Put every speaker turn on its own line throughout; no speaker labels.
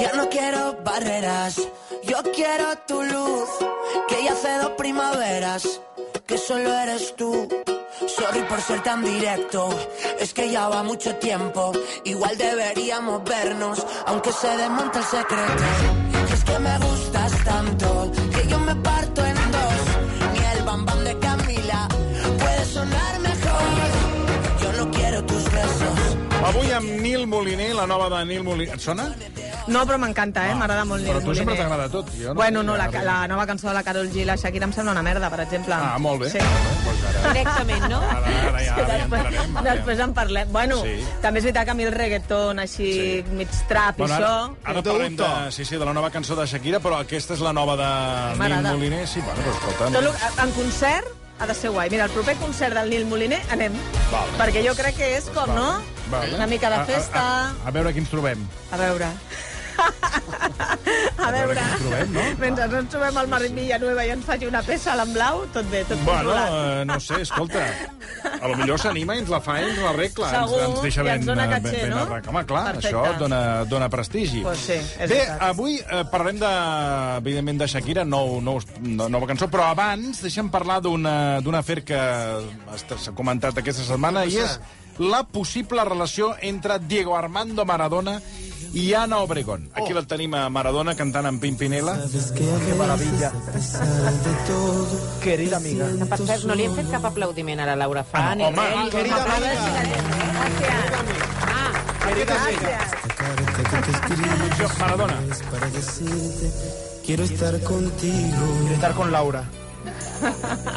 Ya no quiero barreras, yo quiero tu luz, que ya hace dos primaveras, que solo eres tú. Sorry por ser tan directo, es que ya va mucho tiempo, igual deberíamos vernos, aunque se desmonte el secreto. Y es que me gustas tanto, que yo me parto en dos, ni el bam bam de Camila puede sonar mejor. Yo no quiero tus besos.
Avui amb Nil Moliner, la nova de Nil Moliner. Et sona?
No, però m'encanta, eh? M'agrada molt Nil
Però a tu sempre
Moliner.
t'agrada tot. Jo no
Bueno, no, la,
M'agrada
la nova cançó de la Carol G i la Shakira em sembla una merda, per exemple.
Ah, molt bé.
Sí.
Doncs ara,
Directament, no?
ara, ara, ja, ara hi
Després,
entrarem.
després en parlem. Bueno,
Sí.
també és veritat que a mi el reggaeton així,
Sí.
mig trap i
Bueno,
això...
ara, ara parlem de, sí, sí, de la nova cançó de Shakira, però aquesta és la nova de Nil
M'agrada.
Moliner. Sí, bueno, però escolta...
Tot lo, en concert ha de ser guai. Mira, el proper concert del Nil Moliner anem.
Vale.
Perquè jo crec que és com, no?
Vale. Ah,
Una mica de festa.
A, a, a, a veure qui ens trobem.
A, veure. a
veure
veure.
què ens trobem, no?
Mentre no ens trobem al Marín Villanueva i ens faci una peça a l'Emblau, tot bé, tot
Bueno,
controlat.
eh, no sé, escolta, a lo millor s'anima i ens la fa i ens la regla.
Segur,
ens, ens deixa
i
ben,
ens dona
eh,
caché,
ben, ben
no?
arreglat. Home, clar,
Perfecte.
això et dona, dona prestigi.
Pues sí, és
Bé,
veritat.
avui eh, parlarem, de, evidentment, de Shakira, nou, nou, no- nova cançó, però abans deixem parlar d'una d'un afer que est- s'ha comentat aquesta setmana, i és la possible relació entre Diego Armando Maradona i Ana Obregón. Aquí la tenim a Maradona cantant amb Doncs Pimpinela.
Qué maravilla. Querida amiga.
Que, per cert, no li hem fet cap aplaudiment a la Laura Fa,
Ah, no, home,
ni res, ni
querida
com a
amiga.
Gràcies.
eh,
Ah,
Querida amiga.
Maradona.
para decirte quiero estar contigo,
Quiero estar con Laura.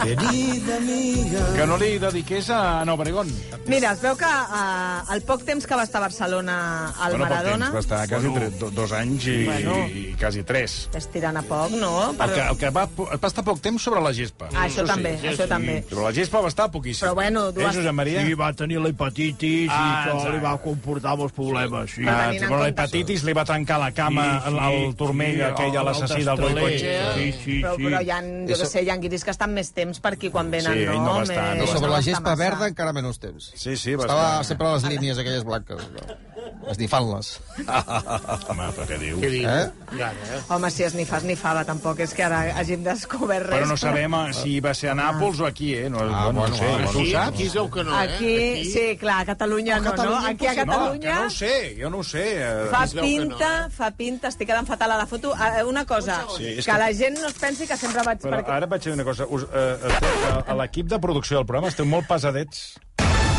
querida amiga.
Que no li dediqués a Ana Obregón.
Mira, es veu que eh, al poc temps que va estar a Barcelona al
Bueno, poc
Maradona...
temps, va estar quasi tre- do- dos anys i, i quasi tres.
Estàs tirant a poc, no?
El que, el que va, po- va estar poc temps sobre la gespa.
Ah, això també, això també.
Sobre la gespa va estar poquíssim.
Però bueno, dues-
Eh, Josep Maria?
Sí, va tenir l'hepatitis ah,
Ah,
i això
exacte.
li va comportar molts problemes. Sí.
Ah,
Tenint en
però
compte-
l'hepatitis li va trencar la cama al al Turmega, aquell a l'assassí del Boicotxe.
Sí, sí,
Però,
sí.
però hi ha, jo què sé, hi ha guiris que estan més temps per aquí quan venen,
Sí,
no?
ell no va estar, no
Més-
va
Eh, no
Sobre
va
la
estar
gespa
massa.
verda encara menys temps.
Sí, sí, va
Estava
estar...
sempre a les línies aquelles blanques. No? Esnifant-les.
Home, però què diu?
Eh?
Ah. Home, si es ni fas ni fava, tampoc és que ara hàgim descobert res.
Però no sabem eh, si va ser a Nàpols o aquí, eh? No,
Ah,
no,
bueno,
no ho sé.
ah,
tu ho saps?
Aquí es veu que no,
Aquí,
eh? Aquí,
sí, clar, a Catalunya no, no? Aquí a
No, que
Catalunya...
no ho sé, jo no ho sé. eh.
Fa
Es veu que no,
pinta, fa pinta, estic quedant fatal a la foto. Ah, Una cosa,
Sí, és
que
que-
la gent no es pensi que sempre vaig...
Però
perquè-
ara vaig dir una cosa. Us, eh, esteu, a, a l'equip de producció del programa esteu molt pesadets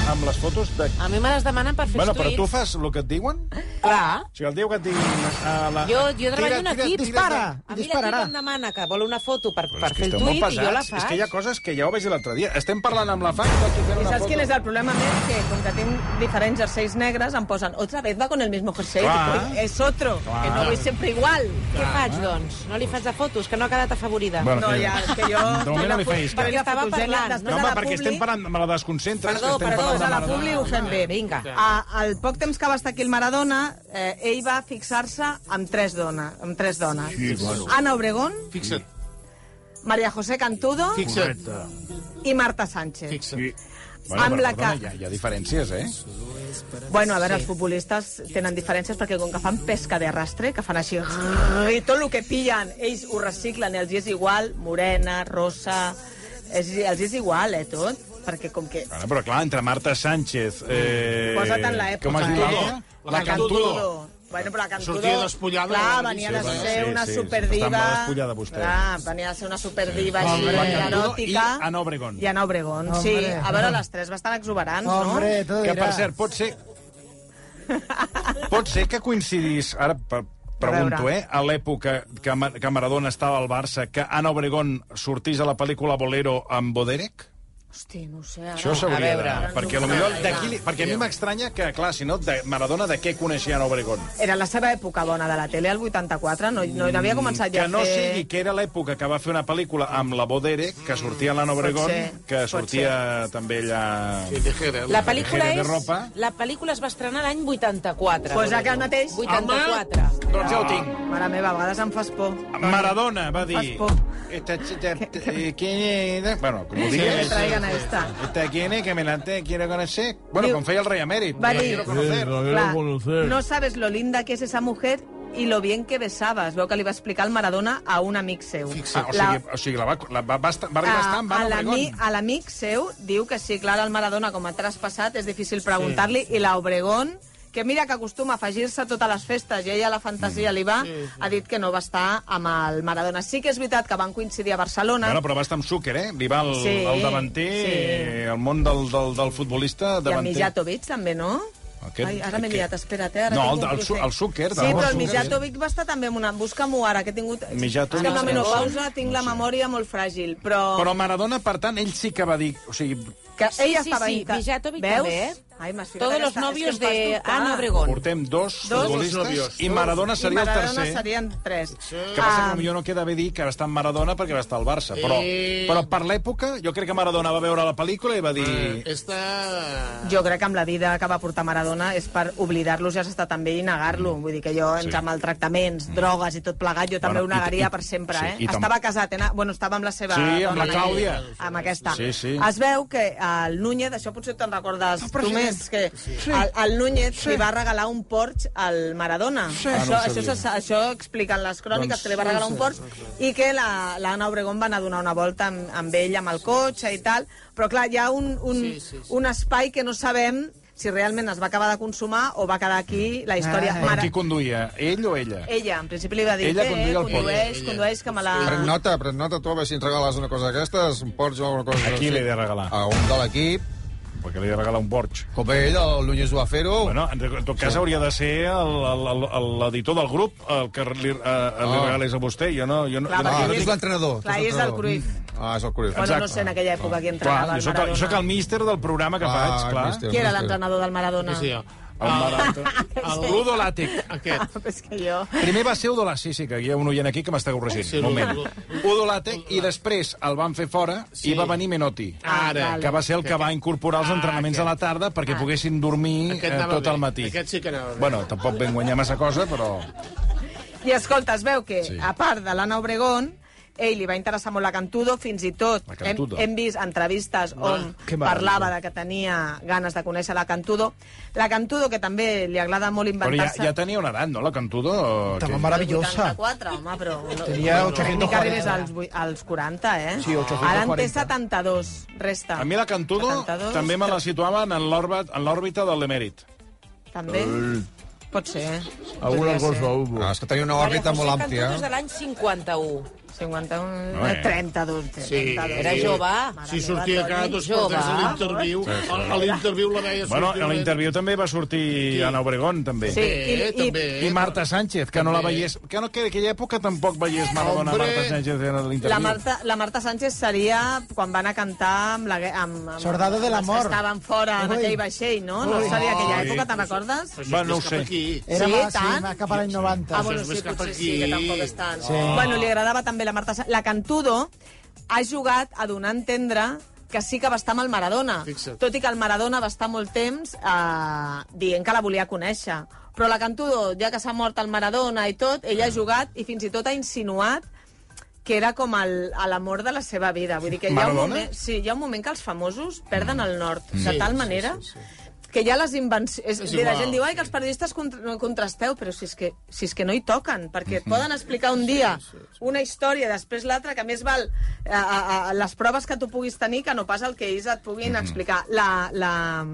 amb les fotos de...
a mi me les demanen per fer
Bueno,
els
però tu
tuits.
fas el que et diuen?
Clar.
O sigui, el dia que et diguin... eh, A la...
Jo, jo treballo en equip.
dispara,
a mi l'equip
dispararà.
em demana que vol una foto per,
Però
per
és que
fer el
esteu molt
tuit i jo la
pesats.
faig.
És que hi ha coses que ja ho vaig dir l'altre dia. Estem parlant amb la fac... I
I saps quin és el problema més? Que com que tinc diferents jerseis negres, em posen otra vez va con el mismo jersey.
Clar.
Dic, "Ui, És otro, que no vull sempre igual.
Què faig, doncs? No li faig de fotos, que no ha quedat afavorida.
Ah. Bueno,
No, ja, és que jo...
De moment no li feis cas.
Perquè estava parlant.
No,
Després
home,
de la
perquè estem
publi-
parlant... Me la desconcentres.
Perdó,
que estem
perdó,
parlant
Doncs
de
a la
Maradona.
Publi ho fem bé.
Vinga.
A, eh, al poc temps que va estar aquí el Maradona, eh, ell va fixar-se amb tres, dona, amb tres dones. Sí, bueno. Ana Obregón,
Fixa't,
Maria José Cantudo
fixa't,
i Marta Sánchez.
fixa't.
Bueno,
amb
però,
la
perdona,
que-
hi ha, hi ha diferències, eh?
Bueno, a veure, els futbolistes tenen diferències perquè com que fan pesca de rastre, que fan així...
Ah.
grrr, I tot el que pillen, ells ho reciclen, els hi és igual, morena, rosa... És, els hi és igual, eh, tot? Perquè com que...
Bueno, però clar, entre Marta Sánchez... Eh...
Posa't en l'època.
Com has dit
eh?
l'altra?
La Cantudo.
Bueno, però la Cantudo...
Sortia despullada,
Clar,
no?
venia
Sí,
de
bueno,
ser
sí,
una
sí,
superdiva...
està molt despullada, vostè.
Clar, venia de ser una superdiva
Sí.
així,
La Cantudo
eròtica.
i Ana Obregón.
I Ana Obregón, sí.
Hombre.
A veure, les tres bastant exuberants,
Hombre, todo
Que,
dirá.
per cert, pot ser... Pot ser que coincidís... Ara per, pregunto, eh? A l'època que, Ma- que Maradona estava al Barça, que Ana Obregón sortís a la pel·lícula Bolero amb Boderek?
no? Hosti, no ho sé, ara...
Això s'hauria de...
veure.
Perquè, a lo millor, d'aquí... li- Perquè a mi m'estranya que, clar, si no, de Maradona de què coneixia Ana Obregón?
Era la seva època bona de la tele, el 84, no, no havia començat ja
Que no
a fer...
sigui que era l'època que va fer una pel·lícula amb la Boderek, que sortia l'Anna Obregón,
ser,
que
pot
sortia també allà...
Que dijera,
La
La
pel·lícula,
tijera de
és,
ropa.
la pel·lícula es va estrenar l'any 84.
Pues aquest mateix.
84.
Doncs ja ho tinc.
Mare meva, a vegades em fas por.
Ah, Maradona va dir...
Fas por.
Esta chica... eh, ¿Quién era? Bueno, com ho
Que me
digués.
traigan a esta.
Esta quién es, que me la te- quiero conocer. Bueno,
Diu-
com feia el rei emèrit.
Va
La
dir-
quiero conocer.
Clar, no sabes lo linda que es esa mujer y lo bien que besaba. Es veu que li va explicar el Maradona a un amic seu.
Ah, o, sigui, o sigui, la va, la va, va, estar, va arribar a estar amb
a
Ana
l'ami-
Obregón.
a l'amic seu diu que sí, clar, el Maradona com a traspassat és difícil preguntar-li, sí, sí. i la Obregón, que mira que acostuma a afegir-se a totes les festes i ella a la fantasia li va, ha dit que no va estar amb el Maradona. Sí que és veritat que van coincidir a Barcelona.
Bueno, però va estar amb Zucker, eh? Li va el, sí,
Sí,
el davanter,
sí.
sí. el món del, del, del futbolista,
I el
davanter.
Mijatovic també, no?
Aquest-
Ai, ara m'he
aquest-
liat, espera't, eh? Ara
No, el-
tinc un
el Su-
procés.
el Zucker,
Sí,
de-
però
el
el
Zucker.
Mijatovic va estar també amb una... Busca-m'ho ara, que he tingut...
Mijatovic,
És que amb
no
la
sé.
menopausa tinc la memòria molt fràgil, però...
Però Maradona, per tant, ell sí que va dir... O sigui,
Que
Sí,
ella
sí,
estava
sí,
inca-
Mijatovic
Veus?
també, eh?
Ai, m'has ficat
Todos los
aquesta- és que
novios
em fas
de
dubtar.
Ana Obregón.
portem dos,
Dos.
futbolistes i Maradona seria
I Maradona
el tercer.
serien tres. Ah, Sí.
Que passa que potser no queda bé dir que va estar en Maradona perquè va estar al Barça. Però,
Eh.
però per l'època, jo crec que Maradona va veure la pel·lícula i va dir...
Eh,
Esta...
Jo crec que amb la vida que va portar Maradona és per oblidar-lo, ja s'està també i negar-lo.
Mm.
Vull dir que jo, entre sí. maltractaments, drogues i tot plegat, jo també
Bueno,
ho
i-
negaria
i-
per sempre,
sí, i
eh?
tam-
Estava casat, eh? na- bueno, estava amb la seva...
Sí, amb
dona,
la Clàudia.
Amb aquesta.
Sí, sí.
Es veu que el Núñez, això potser te'n recordes tu més, que el, el Núñez li va regalar un Porsche al Maradona. Això,
Ah, no ho
això,
sabia.
se- això expliquen les cròniques,
Doncs-
que li va regalar un Porsche i que la- l'Anna Obregón va anar a donar una volta amb, amb ell, amb el cotxe i tal. Però clar, hi ha un, un, sí, sí, sí. un espai que no sabem si realment es va acabar de consumar o va quedar aquí la història.
Però qui conduïa? Ell o ella?
Ella, en principi li va dir
Ella
que
conduïa el Porsche.
condueix, condueix, que me la...
Pren nota, pren nota tu, a veure si ens regales una cosa d'aquestes, un Porsche o alguna cosa
A qui l'he de regalar?
A un de l'equip,
Perquè li he de regalar un Porsche.
com ell, el Núñez ho va fer-ho.
Bueno, en en tot cas hauria de ser el- el- el- l'editor del grup el que li, eh, li
Ah.
regalés a vostè. Jo no... Jo no,
Clar,
jo no
ah,
perquè
tu
ell-
ets l'entrenador. tu
Clar, ell
ets
és el
l'entrenador.
Cruyff.
Mm. Ah, és el Cruyff.
Bueno, no sé en aquella època qui
Clar,
entrenava
jo
el
sóc, el-
Maradona.
jo sóc el míster del programa que
Ah,
faig,
el
clar.
míster.
Qui era l'entrenador del Maradona?
Sí, jo.
El
Ah.
Maradona. El Ludo Làtic.
Aquest.
És Ah, que jo...
Primer va ser Udolat, sí, sí, que hi ha un oient aquí que m'està corregint.
Sí,
un moment.
Udo-
Udolatec, i després el van fer fora sí. i va venir Menotti.
Ara.
Que va ser el que va incorporar els entrenaments a la tarda perquè poguessin dormir
Ah, Aquest
eh,
anava
tot
bé.
el matí.
Aquest sí que anava bé.
Bueno, tampoc vam guanyar massa cosa, però...
I escolta, es veu que,
Sí.
sí. a part de l'Anna Obregón, ell li va interessar molt la Cantudo, fins i tot
La
hem,
Cantudo. Ah,
hem vist entrevistes on
que maravilla.
parlava de que tenia ganes de conèixer la Cantudo. La Cantudo, que també li agrada molt
Però ja,
inventar-se...
ja tenia una edat, no, la Cantudo? o
Estaba
què?
maravillosa.
84, home, però... No,
Tenía
ni que arribés
840.
als, vuit- als 40, eh?
Sí, 840.
Ara en té 72, resta.
A mi la Cantudo
72,
també me la situaven en l'òrbit- en l'òrbita de l'emèrit.
També? Pot ser, eh?
Alguna
Podria ser.
cosa hubo.
Ah, és que tenia una òrbita molt àmplia.
eh?
eh?
Cantudo és de l'any 51.
51...
No, eh.
32, 32.
Sí.
Era jove.
Si sortia cada dos per tres a l'interviu, a l'interviu la veia
Bueno,
sortir
a l'interviu també va sortir Anna Obregón, també.
Sí, i,
Eh,
i,
també.
I Marta Sánchez, que no la veiés... Que, no, que en aquella època tampoc veiés Maradona,
Hombre.
Marta Sánchez en l'interviu.
La Marta, la Marta Sánchez seria quan van a cantar amb la... gue- Amb, amb
Sordado de
amb els
l'amor.
Que estaven fora en
Ui.
aquell vaixell, no? No
Ui.
seria aquella
Ui.
època, te'n recordes?
Però això
Va,
és
no
més
ho
cap
sé.
Aquí.
Era
Sí,
más,
tant.
más cap als 90.
Ah,
Això
bueno,
és
sí,
més cap
potser
aquí.
sí, que tampoc és tant.
Sí.
Bueno, li agradava també la Marta... Sa- La Cantudo ha jugat a donar a entendre que sí que va estar amb el Maradona.
Fixa't.
Tot i que el Maradona va estar molt temps eh, dient que la volia conèixer. Però la Cantudo, ja que s'ha mort el Maradona i tot, ella
Mm.
ha jugat i fins i tot ha insinuat que era com el- a l'amor de la seva vida. Vull dir que hi ha, un
Maradona?
moment, sí, hi ha un moment que els famosos perden
Mm.
el nord, de tal manera que ja les invencions...
És
La
igual.
gent diu, ai, que els periodistes cont contrasteu, però si és, que, si és que no hi toquen, perquè et poden explicar un dia una història, després l'altra, que més val a, a, a les proves que tu puguis tenir que no pas el que ells et puguin explicar. La, la,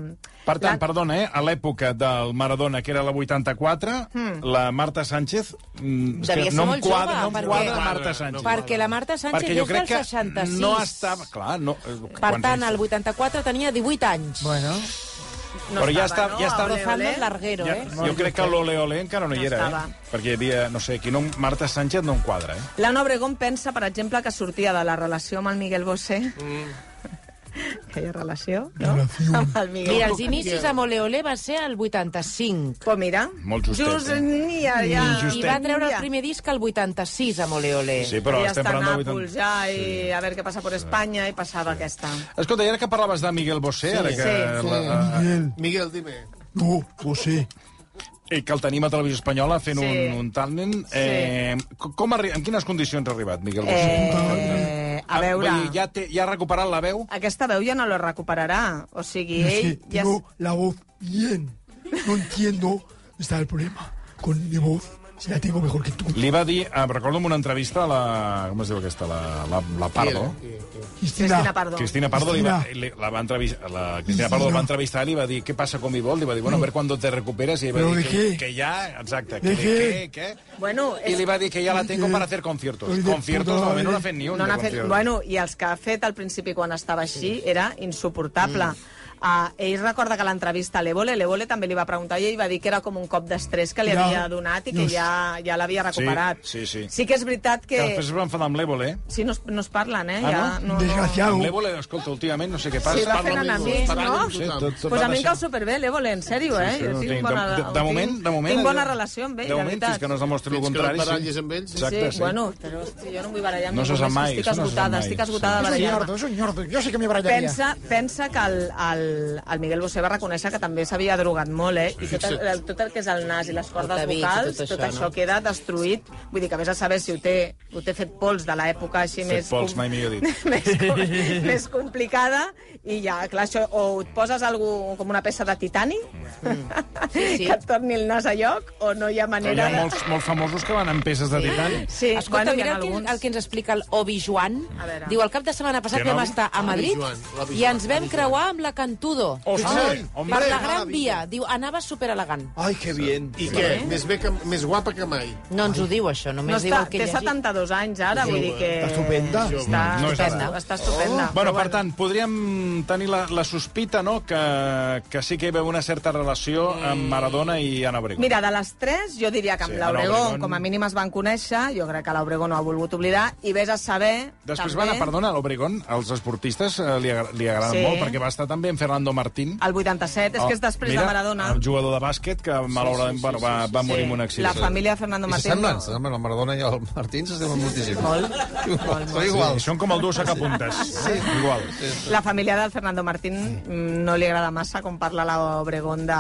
Per tant,
la-
perdona, eh? a l'època del Maradona, que era la 84, la Marta Sánchez... mm, és que
Hmm. Devia ser
no em
molt
quadra,
jove,
no em
perquè-
quadra Marta Sánchez.
Perquè la Marta Sánchez
perquè jo
és del
crec que
66.
no estava... Clar, no, eh,
Per
quants
tant,
anys?
el 84 tenia 18 anys.
Bueno,
no
però ja
estava,
està-
no?
ja està-
Ole, ole.
Rozando el larguero,
Ja,
eh?
jo crec que l'Ole Ole encara no hi
No
era,
estava.
eh? Perquè hi havia, no sé, qui no, Marta Sánchez no em quadra, eh?
L'Anna Obregón pensa, per exemple, que sortia de la relació amb el Miguel Bosé. Mm. Aquella relació, no? Amb el Miguel.
Mira, els inicis amb Ole Ole va ser el 85.
Pues mira.
Molt justet,
Just,
eh?
ni, ja, ja,
I va treure el primer disc el 86 amb Ole Ole.
Sí, però
ja
estem
està a
parlant del
Nàpols, ja, i a veure què passa per Espanya, i passava aquesta.
Escolta, i ara que parlaves de Miguel Bosé, ara que...
sí.
la,
Miguel,
Miguel, dime.
tú, José.
I que el tenim a Televisió Espanyola fent
Sí.
un, un talent. Eh, co- com arri... En quines condicions ha arribat, Miguel Bosé?
Eh, a veure,
Ah, Vull dir, ja, té, ja ha recuperat la veu?
aquesta veu ja no la recuperarà. O sigui,
No
ell
sé,
ja...
tengo la voz bien. No entiendo. Está el problema con mi voz.
Si la tengo mejor que tú.
Li va dir, eh, recordo en una entrevista a la... Com es diu aquesta? La, la, la Pardo.
Cristina
Cristina.
Pardo.
Cristina Pardo li va,
Cristina.
li, la va entrevistar, la Cristina Pardo el va entrevistar i li va dir què passa con mi vol, li va dir, bueno, a veure quan te recuperes i ell va
Però
dir
de
que,
què?
que ja, exacte, que
De
de què, què?
Bueno,
I
és-
li va dir que ja la tengo
De-
para hacer conciertos.
Ai, de
Conciertos
puta
de moment no n'ha
madre.
fet ni un.
No
de
n'ha fet...
conciertos.
Bueno, i els que ha fet al principi quan estava així era
Mm.
insuportable. Uh, ell recorda que a l'entrevista a l'Evole, l'Evole també li va preguntar i ell va dir que era com un cop d'estrès que li
Ja.
havia donat i que
Just.
ja, ja l'havia recuperat.
sí, sí.
Sí que és veritat que...
Que després es va enfadar amb l'Evole. eh?
Sí, no es, no es parlen, eh?
Ah,
ja,
No,
Amb
Desgraciado.
l'Evole, escolta, últimament no sé què passa.
Sí, va
Parla
fent
amb
amics,
enemics, no?
parlant amb tothom.
tot- tot
Pues a
va
mi em cau
baixant.
superbé l'Evole, en sèrio, eh?
Sí,
Jo
no
tinc
tinc-
bona,
de, de, moment, de moment...
tinc bona
allò-
relació amb ell,
de
la
moment,
veritat.
Fins que no es demostri el
Fins que no et
contrari.
barallis amb ells.
Exacte,
sí,
sí.
bueno, però, hosti, jo no em vull barallar amb
No se
ningú
sap
més,
mai,
estic
això no se sap
esgotada,
mai.
estic esgotada
Es
de
un
barallar-me.
ñordo, es un ñordo. Yo sé que me barallaría.
Pensa, pensa que el, el, el Miguel Bosé va reconèixer que també s'havia drogat molt, eh? I tot el, el- tot el que és el nas i les cordes
tabic i
vocals,
tot
tot,
això,
això,
no?
queda destruït. Vull dir que vés a saber si ho té, ho té fet pols de l'època així
Fet
més...
pols,
com-
mai millor dit.
més, com, més complicada. I ja, clar, això, o et poses algú com una peça de titani,
sí.
que et torni el nas a lloc, o no hi ha
Però hi
manera...
ha molts, molts famosos que van amb peces de titani.
Sí,
Escolta,
bueno, hi ha
mira el que,
alguns...
el que ens explica el Obi Joan.
A veure.
Diu, el cap de setmana passat
Que no?
vam estar a Madrid
Joan, l'Obi
i ens vam creuar amb la Cantudo.
Ostres,
Per
hombre,
la Gran Via. Diu, anava superelegant.
Ay, qué bien.
I què? Més, bé que, més guapa que mai.
No ens ho diu, això, només
No
diu
està,
el que
té 72 anys ara, vull dir que...
Està estupenda.
Està,
No és
estupenda,
ara. Oh,
està estupenda.
Bueno, per tant, podríem tenir la, la sospita, no?, que, que sí que hi veu una certa relació amb Maradona i Ana Obregón.
Mira, de les tres, jo diria que amb
Sí,
sí,
Ana Obregón.
l'Obregón, com a mínim es van conèixer, jo crec que l'Obregón no ha volgut oblidar, i vés a saber...
Després
també,
va anar, perdona, a l'Obregón, als esportistes eh, li, agra li agraden
Sí.
molt, perquè va estar també en Fernando Martín.
El 87, és que és
Ah,
després
Oh, Mira,
de Maradona.
El jugador de bàsquet que malauradament bueno, va, va morir en un accident.
La família de Fernando
I se
Martín...
semblen, se semblen, el Maradona i el Martín se semblen moltíssim. Molt. Són
Sí,
iguals.
són com el duo sacapuntes. Sí. Igual.
La família del Fernando Martín mm, no li agrada massa com parla l'Obregón de...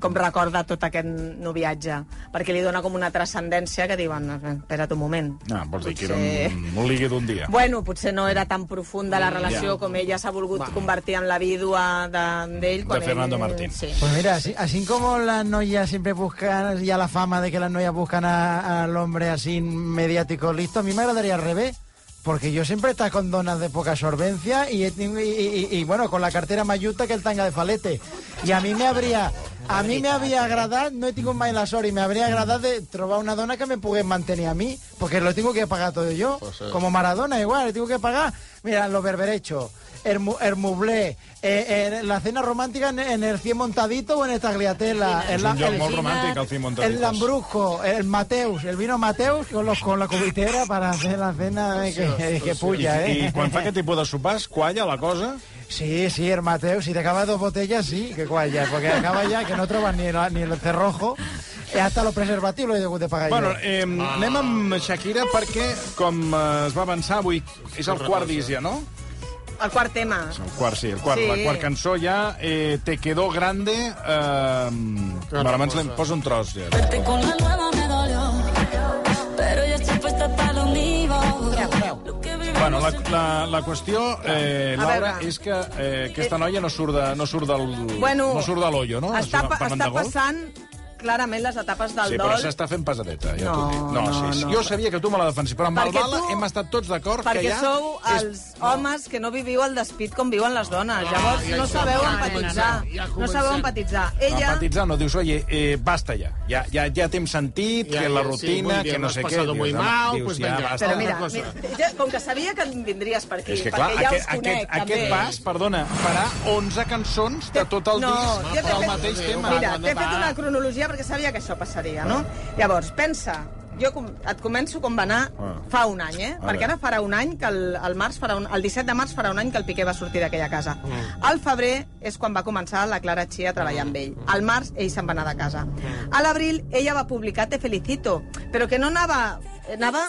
com recorda tot aquest noviatge, perquè li dona com una transcendència que diuen, espera't un moment.
No, vols dir que era
Potser-
un, un ligue d'un dia.
Bueno, potser no era tan profunda
Mm,
la relació com ella s'ha volgut convertir en la vídua de- d'ell. quan
Fernando
ell...
Martín.
Sí.
Pues mira, así, así como las noyas siempre buscan, ya la fama de que las noyas buscan a- al hombre así mediático listo, a mí me agradaría al revés. Porque yo siempre estaba con donas de poca sorbencia y, he tenido- y- y- y- y, bueno, con la cartera más justa que el tanga de falete. Y a mí me habría, a mí me habría agradado, no he tenido más en la sort, y me habría agradado de trobar una dona que me pude mantener a mí, porque lo tengo que pagar todo yo. Como Maradona igual, lo tengo que pagar. Mira, los berberechos, el, mu- el mublé, eh, eh, la cena romántica en, en el cien montadito o en el tagliatella. en
és
la-
un lloc
el-
molt romàntic, el Cimon
el Lambrusco, el Mateus, el vino Mateus con, los, con la cubitera para hacer la cena eh, que, que
I,
puya,
I
¿eh?
quan fa aquest tipus de sopars, qualla la cosa?
Sí, sí, el Mateus, si te acabas dos botellas, sí, que cual ya, porque acaba ya que no trobas ni, la- ni el cerrojo, eh, hasta los preservativos y de que pagar
Bueno, eh, anem amb Shakira perquè, com eh, es va avançar avui, és el quart disc ja, no?
El quart tema.
El quart, sí, el quart,
Sí.
la quart cançó ja, eh, Te quedó grande... Eh, bueno, abans li poso un tros, ja.
Verte con la nueva me dolió, pero yo estoy puesta para lo mío.
Bueno, la, la, la qüestió,
Ah.
eh,
A
Laura,
veure.
és que eh, aquesta noia no surt, de, no surt del...
Bueno,
no surt de l'ollo, no?
Està,
Estem
pa-
parlant
està
de golf.
passant clarament les etapes del
Sí, però
dol.
s'està fent pesadeta, ja
No,
t'ho dic.
no,
sí, sí.
no.
Jo sabia que tu me la defensis, però amb el
Perquè
Bala
tu-
hem estat tots d'acord que
Perquè
ja...
sou els homes que no viviu el despit com viuen les dones.
Ah,
Llavors
ja
no
hi som,
sabeu
ja
empatitzar.
comencem, ja
No sabeu
comencem.
empatitzar.
Ella...
Ella...
Empatitzar, no, dius, oye, eh, basta ja. Ja, ja, ja t'hem sentit,
Ja,
que la
ja, sí,
rutina,
muy bien,
que no
has
sé què...
pasado muy
home,
mal, pues venga.
basta.
Però
Una
mira,
cosa.
mi- ja, com que sabia que em vindries per aquí,
És que, clar,
perquè ja
aquest,
us conec,
aquest, aquest
també.
pas, perdona, farà 11 cançons de tot el
no,
disc
ja t'he
del
fet-
mateix tema.
Mira, t'he fet una cronologia perquè sabia que això passaria, no? Llavors, pensa, jo com, et començo com va anar
Ah.
fa un any, eh?
A veure.
Perquè ara farà un any que el, el, març farà un, el 17 de març farà un any que el Piqué va sortir d'aquella casa.
Mm.
Al febrer és quan va començar la Clara Chia a treballar amb ell. Al març ell se'n va anar de casa.
Mm.
A l'abril ella va publicar Te felicito, però que no anava... Anava...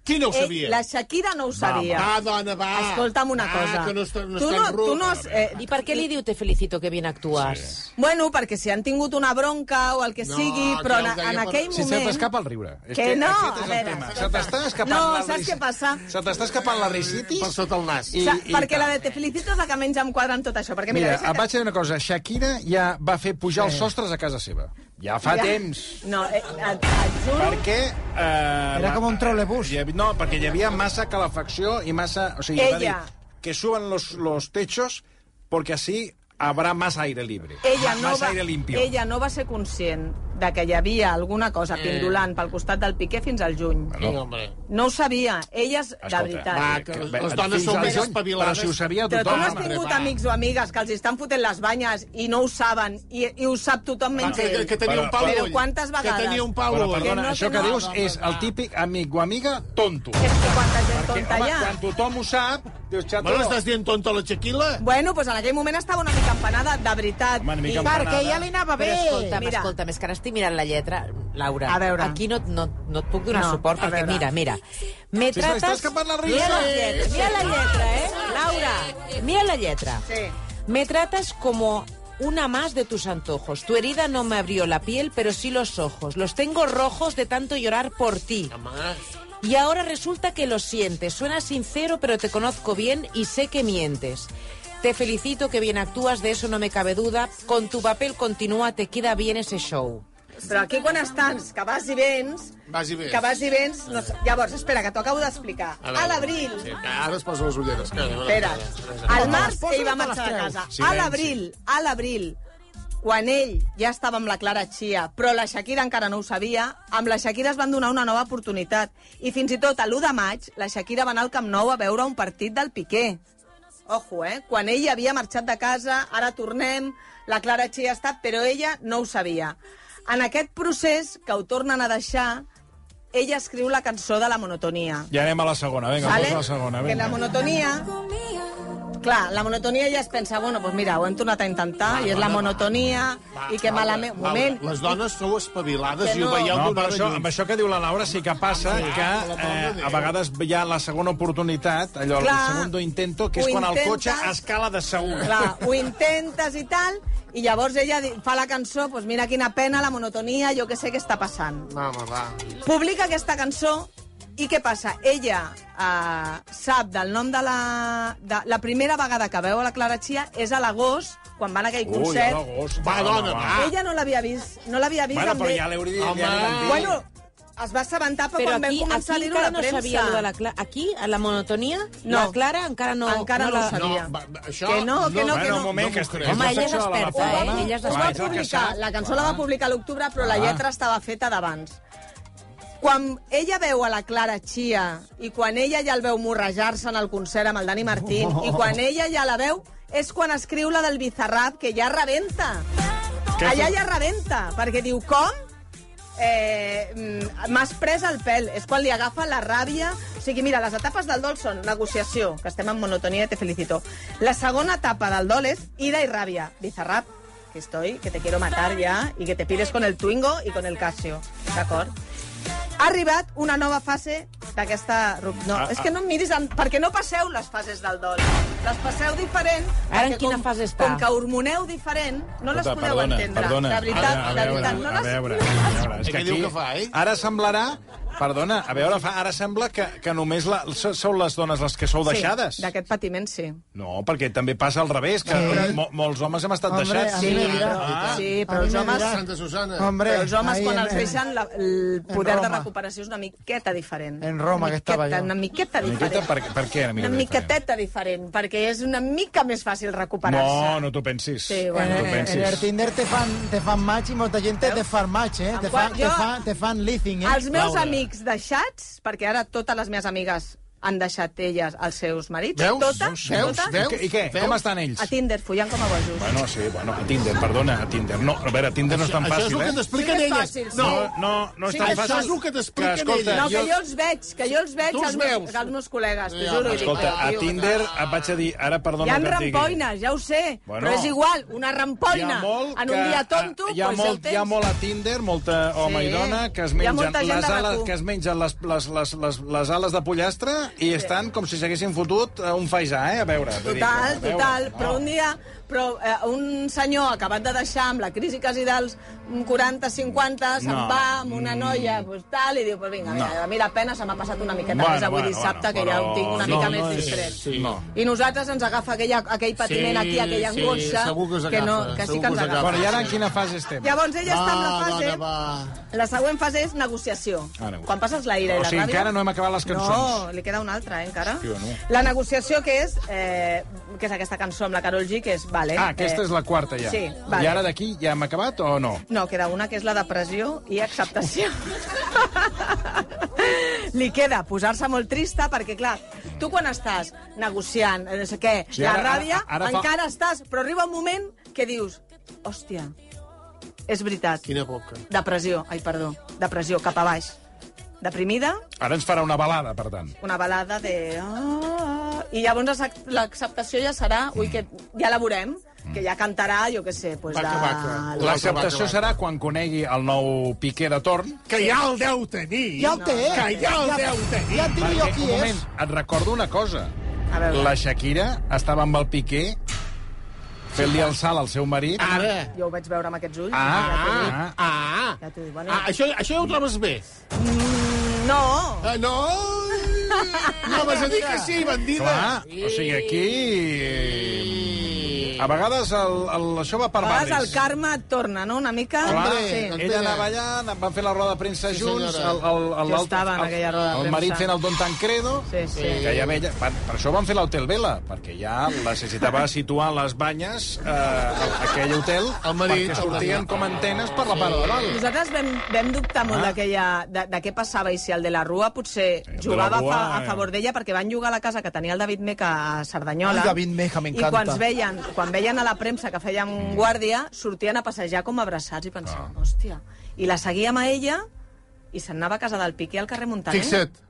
Qui no ho
Ell-
sabia?
La Shakira no ho sabia.
Va, dona, va.
Escolta'm una
Va,
Ah,
cosa.
que no està- no
tu
està
no,
en
tu
ruc.
no, has- eh,
I per què li diu te felicito que bien actuas?
Bueno, perquè si han tingut una bronca o el que
No,
sigui,
que
però
ho
en,
deia
en
per-
aquell
Si se
moment...
t'escapa el riure. És
Que no,
aquest és
a
el
veure.
tema. Se t'està escapant
No,
la
saps
risi-
què passa?
Se t'està escapant la risitis.
Per sota el nas.
I-
Sa-
i
perquè
tal.
la de Te Felicito és la que menys em quadra en tot això. Perquè mira,
Mira,
deixa-
et vaig dir una cosa. Shakira ja va fer pujar els sostres a casa seva. Ja fa
Ja.
temps.
No, eh, et, et juro...
Perquè... Eh, Era
com un trolebús.
No, perquè hi havia massa calefacció i massa... O sigui, va dir
Ella.
que suban los, los techos porque así habrá más aire libre.
Ella no,
más
va,
aire limpio.
ella no va ser conscient de que hi havia alguna cosa
Eh.
pindolant pel costat del Piqué fins al juny.
Sí, hombre.
No ho sabia. Elles, de veritat.
va, que- les dones
fins
són
al
més
juny,
espavilades.
Però si ho sabia
Però tu
tothom.
no has
home.
tingut
va.
amics o amigues que els estan fotent les banyes i no ho saben, i, i ho sap tothom
Va,
menys
que, que,
ell.
que tenia
Però-
un pal
però
ull.
quantes vegades?
Que tenia un pal
Però,
ull.
perdona,
Que no
això que
tenen-
dius
no,
és el típic amic o amiga tonto.
És que quanta gent tonta
home,
hi ha.
quan tothom ho sap, dius, xato...
Bueno, estàs dient tonta la Shakira?
Bueno, doncs en aquell moment estava una mica empanada, de veritat.
Home, una mica
I-
empanada.
Perquè ja li anava bé.
Però escolta'm,
Mira,
escolta'm, és que ara estic mirant la lletra, Laura.
A veure.
Aquí no, no, no et puc donar
No,
suport,
a
perquè
veure.
mira, mira. Me
Si
trates...
estàs escapant la risa.
Mira la lletra, mira la lletra, eh? Laura, mira la lletra.
Sí.
Me tratas como una más de tus antojos. Tu herida no me abrió la piel, pero sí los ojos. Los tengo rojos de tanto llorar por ti. Y ahora resulta que lo sientes. Suena sincero, pero te conozco bien y sé que mientes. Te felicito que bien actúas, de eso no me cabe duda. Con tu papel continúa, te queda bien ese show.
Però aquí quan estàs, que vas i vens...
Vas i vens.
Que vas i vens... No, sé. llavors, espera, que t'ho acabo d'explicar.
A veure.
A l'abril...
Sí, que ara es posa les ulleres. Que,
Espera, al març
posa
ell va
i te les
marxar de
treus.
casa. A
Silenci.
l'abril, a l'abril, quan ell ja estava amb la Clara Chia, però la Shakira encara no ho sabia, amb la Shakira es van donar una nova oportunitat. I fins i tot l'1 de maig, la Shakira va anar al Camp Nou a veure un partit del Piqué. Ojo, eh? Quan ell havia marxat de casa, ara tornem, la Clara Chia està, però ella no ho sabia. En aquest procés, que ho tornen a deixar, ella escriu la cançó de la monotonia.
Ja anem a la segona, vinga,
¿Vale?
posa la segona.
que la
vinga.
monotonia... Clar, la monotonia ja es pensa, bueno, doncs mira, ho hem tornat a intentar, i és la monotonia, i que malament... Un moment,
Les dones sou espavilades
Que
i ho
no.
veieu
No,
d'una
però
hora
això,
lluny.
amb això que diu la Laura sí que passa que eh, a vegades hi ha la segona oportunitat, allò, el
Clar.
segundo intento, que
Ho
és quan el
intentes.
cotxe escala de segur.
clar, ho intentes i tal, i llavors ella di- fa la cançó, doncs mira quina pena, la monotonia, jo que sé què està passant.
Mama, va.
Publica aquesta cançó, i què passa? Ella eh, sap del nom de la... De, la primera vegada que veu a la Clara Chia és a l'agost, quan van a aquell
Ui,
concert.
l'agost. Ah.
Va, dona, va.
Ella no l'havia vist, no l'havia vist
Bueno,
amb
però
ell.
ja l'hauria dit,
Home.
ja li van dir.
Bueno, es va assabentar però
Però
quan
aquí,
vam començar
aquí
a dir-ho a
encara
la
no
premsa. Eh?
sabia allò de la Clara. Aquí, a la monotonia,
No.
la Clara encara no...
Encara no
la-
ho sabia.
No, va, va, això...
Que no, que no,
bueno,
que no.
un moment,
No
que
m'ho
estic...
crec.
Home, ella és experta,
Ho va,
eh? Ella és
ho
d'esperta.
va
Clar, és el
publicar, la cançó la va publicar a l'octubre, però la lletra estava feta d'abans. Quan ella veu a la Clara Chia i quan ella ja el veu morrejar-se en el concert amb el Dani Martín i quan ella ja la veu, és quan escriu la del Bizarrap, que ja rebenta. Allà ja rebenta, perquè diu, com? Eh, mm, M'has pres el pèl. És quan li agafa la ràbia. O sigui, mira, les etapes del dol són negociació, que estem en monotonia i te felicito. La segona etapa del dol és ira i ràbia. Bizarrap, que estoy, que te quiero matar ya, y que te pides con el Twingo i con el Casio. D'acord? Ha arribat una nova fase d'aquesta... rup-
Ah,
No, és que no em miris... En... Perquè no passeu les fases del dol. Les passeu diferent.
Ara en
perquè
quina
com,
fase està?
Com que hormoneu diferent, no les
Escolta,
podeu entendre.
Perdona.
de veritat,
a
de
veure,
veritat. no
a
les...
veure, a veure, és
Eh, què diu que fa, eh?
Ara semblarà... Perdona, a veure, fa, ara sembla que, que només la, so- sou les dones les que sou deixades.
Sí, d'aquest patiment, sí.
No, perquè també passa al revés, que
Sí.
mo, molts homes hem estat
Hombre,
deixats.
a mi
Sí,
me
però,
dirà.
sí,
Ah.
però
A mi
els
me
homes,
dirà.
Santa Susana.
Hombre,
però els homes
ahí
quan
en-
els
en-
deixen, la, el poder de
Roma.
recuperació és una miqueta diferent.
En Roma,
Una
que estava
miqueta,
jo.
Una miqueta
Una
diferent.
miqueta, per, per què era
una
miqueta diferent?
miqueteta diferent, perquè és una mica més fàcil recuperar-se.
No, no t'ho pensis.
Sí,
En,
bueno.
no t'ho
en- en el
pensis.
Tinder te fan, te fan match i molta gent te, te fan match, eh? Te
Quan
fan,
jo-
te fan, te fan leasing, eh?
Els meus amics deixats, perquè ara totes les meves amigues han deixat elles els seus marits.
Veus?
Totes,
Veus?
totes,
Veus?
I què? I què?
Veus?
Com estan ells?
a Tinder, follant com a bojos.
Bueno, sí, bueno, a Tinder, perdona, a Tinder. No, a veure, a Tinder no és tan
Això és
fàcil,
el que
eh?
Sí
t'expliquen
que és
elles.
fàcil, sí.
No,
No, no, no és
Sí,
tan
això
fàcil.
és el que t'expliquen
escolta,
elles.
No, que jo els veig, que jo els veig
Tu els
als, meus,
veus?
als meus col·legues, t'ho
Ja,
juro. i dic,
Escolta, a
"Tio,
Tinder et vaig a dir... Ara,
Hi
perdona que
ha
et digui.
rampoines, ja ho sé,
Bueno.
però és igual, una
Hi
rampoina
ha molt
en
que-
un
ah,
dia tonto,
hi ha,
doncs
molt,
el
hi ha
tens.
molt a Tinder, molta home i dona, que es
Hi ha
mengen
molta gent
les
de
ales,
RAC1.
que es mengen les, les, les, les, les ales de pollastre i estan com si s'haguessin fotut eh, un faisà, eh? A veure. vull dir,
Total,
a veure,
total,
no.
però un dia però eh, un senyor acabat de deixar amb la crisi quasi dels 40-50 se'n
No. Mm.
va amb una noia pues, tal, i diu, pues vinga, mira, a mi la pena se m'ha passat una miqueta
Bueno,
més avui
bueno,
dissabte,
bueno,
que ja
però
ho tinc una
no,
mica
no
més
és-
distret.
Sí. No.
I nosalles ens agafa aquella, aquell patiment
Sí,
aquí, aquella
sí,
angoixa,
segur que us agafa,
no, que sí
segur
que
que us
ens agafa.
agafa.
Bueno, i ara en quina fase estem?
Llavors ella està en la
Va,
fase...
dona, va.
La següent fase és negociació.
Ah, negociació.
Quan passes la ira i
O
la
sigui,
ràbia...
encara no hem acabat les cançons.
No, li queda una altra, eh, encara.
Hòstia, no.
La negociació que és, eh, que és aquesta cançó amb la Carol G, que és... Vale,
Ah, aquesta
eh,
és la quarta, ja.
Sí, vale.
I ara d'aquí ja hem acabat o no?
No, queda una que és la depressió i acceptació. Li queda posar-se molt trista perquè, clar, tu quan estàs negociant, eh, no sé què,
Sí,
la
ara-
ràbia,
ara- ara fa-
encara estàs... Però arriba un moment que dius, hòstia, és veritat,
Quina boca.
depressió, ai, perdó, depressió, cap a baix. Deprimida,
Ara ens farà una balada, per tant.
una balada de... Ah, I llavors l'ac- l'acceptació ja serà... Ui, que ja la veurem, que ja cantarà, jo què sé, pues
Vaca,
de...
vaca.
la-
L'acceptació
vaca.
serà quan conegui el nou Piqué de torn.
Que ja el deu tenir.
Ja ho té, eh?
Que ja el deu tenir.
Ja et diré jo eh. qui
un
és.
moment, et recordo una cosa.
A veure.
La Shakira estava amb el Piqué fent-li el salt al seu marit.
Ara.
Jo ho vaig veure amb aquests ulls.
Ah, ah,
Ah.
Ja t'ho dic, bueno. mm,
Ah, això, això ja ho trobes bé.
No!
Ah, no! No vas a dir que sí, bandida.
clar. O sigui, aquí... A vegades el, el, això va per
A vegades el
barris.
karma et torna, no?, una mica.
Clar,
Hombre,
ella anava allà, van fer la roda de premsa
Sí,
junts, el,
senyora.
el, el,
Jo
l'altre-
estava en
el-
aquella roda de
el
premsa.
marit fent el Don Tancredo, eh,
Sí, sí.
que ja veia... Van, per això van fer l'hotel Vela, perquè ja necessitava situar les banyes eh, a aquell hotel,
El marit,
perquè
el-
sortien com antenes per la part de dalt.
Nosaltres vam, vam dubtar molt d'aquella... De, de, què passava i si el de la Rua potser
Ah. Eh, de la
jugava a,
Rua,
fa, a
eh.
favor d'ella perquè van jugar a la casa que tenia el David Meca a Cerdanyola.
Ai, David Meca,
I
m'encanta.
quan, es veien, quan veien a la premsa que fèiem
Mm.
guàrdia, sortien a passejar com abraçats i pensaven,
Ah.
hòstia... I la seguíem a ella i se'n anava a casa del Piqué al carrer Montaner.
Fixa't.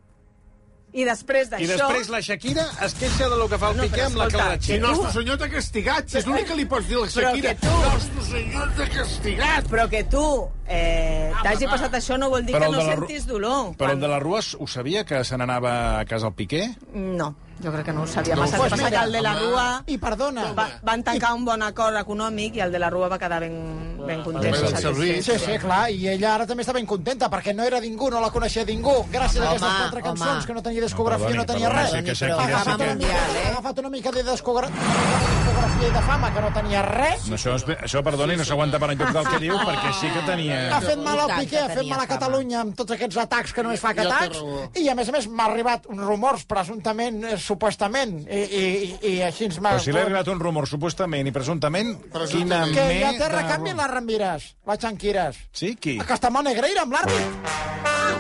I després
I
d'això...
després la Shakira es queixa de lo que fa el
No,
Piqué
però
amb la
escolta,
Si
claratxera.
nostre senyor t'ha castigat, si és l'únic que li pots dir a la
Però
Shakira.
que tu-
Nostre senyor t'ha castigat.
Però que tu eh, t'hagi passat això no vol dir que
el
no
de la Ru-
sentis dolor.
Però el de la Rua ho sabia, que se n'anava a casa el Piqué?
No, jo crec que no ho sabia.
No,
No, passa,
pues
passa
mira,
que el de la
home.
Rua...
Ah, I
Ah.
perdona.
Va, van tancar un bon acord econòmic i el de la Rua va quedar ben, ben content.
Bueno,
i
el
satisfet.
Ah, servir.
Sí, sí, clar, i ella ara també està ben contenta, perquè no era ningú, no la coneixia ningú, gràcies a aquestes quatre cançons, que no tenia discografia, no, tenia res.
sí que Shakira
Ha
sí
agafat, una
que...
mica, eh? ha agafat una mica de discogra- de discografia i de fama, que no tenia res.
Això, és, això perdoni, no s'aguanta per enlloc del que diu, perquè sí que
Ha
tenia...
fet mal al
tant
Piqué,
que
ha fet
tenia
mal a
fama.
Catalunya amb tots aquests atacs que només fa que
Ja té
atacs.
raó.
I, a més a més, m'ha arribat uns rumors, presumptament, eh, supuestament, i, i, i, i així ens m'ha...
Però si l'he arribat un rumor, supuestament i presumptament, quina
Presumptament.
Que
me...
ja té
de-
recanvi les rambires, les xanquires.
Sí, qui?
Que està molt negreira amb l'àrbit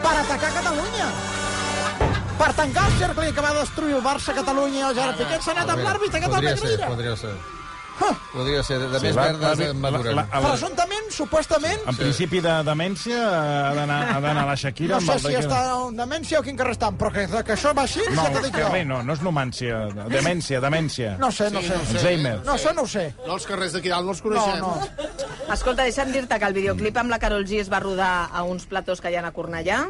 per atacar Catalunya. Per tancar el cercle que va destruir el Barça, Catalunya i el Gerard Piqué, s'ha anat amb l'àrbit aquest al
Podria ser,
negreira.
podria ser. Podria ser, de, de més verdes eh, en maduren.
Presumptament, supuestament,
En principi de demència ha d'anar ha d'anar la Shakira...
no sé
amb el
si
de-
està en demència o quin carrer estan, però que, que això va així,
No,
ja t'ho dic jo.
carrer no, no és nomància. Demència, demència.
No sé, no sé.
Alzheimer.
No sé, no ho sé.
No, els carrers d'aquí dalt no els
No,
coneixem.
no.
Escolta, deixa'm dir-te que el videoclip amb la Carol G es va rodar a uns platós que hi ha a Cornellà,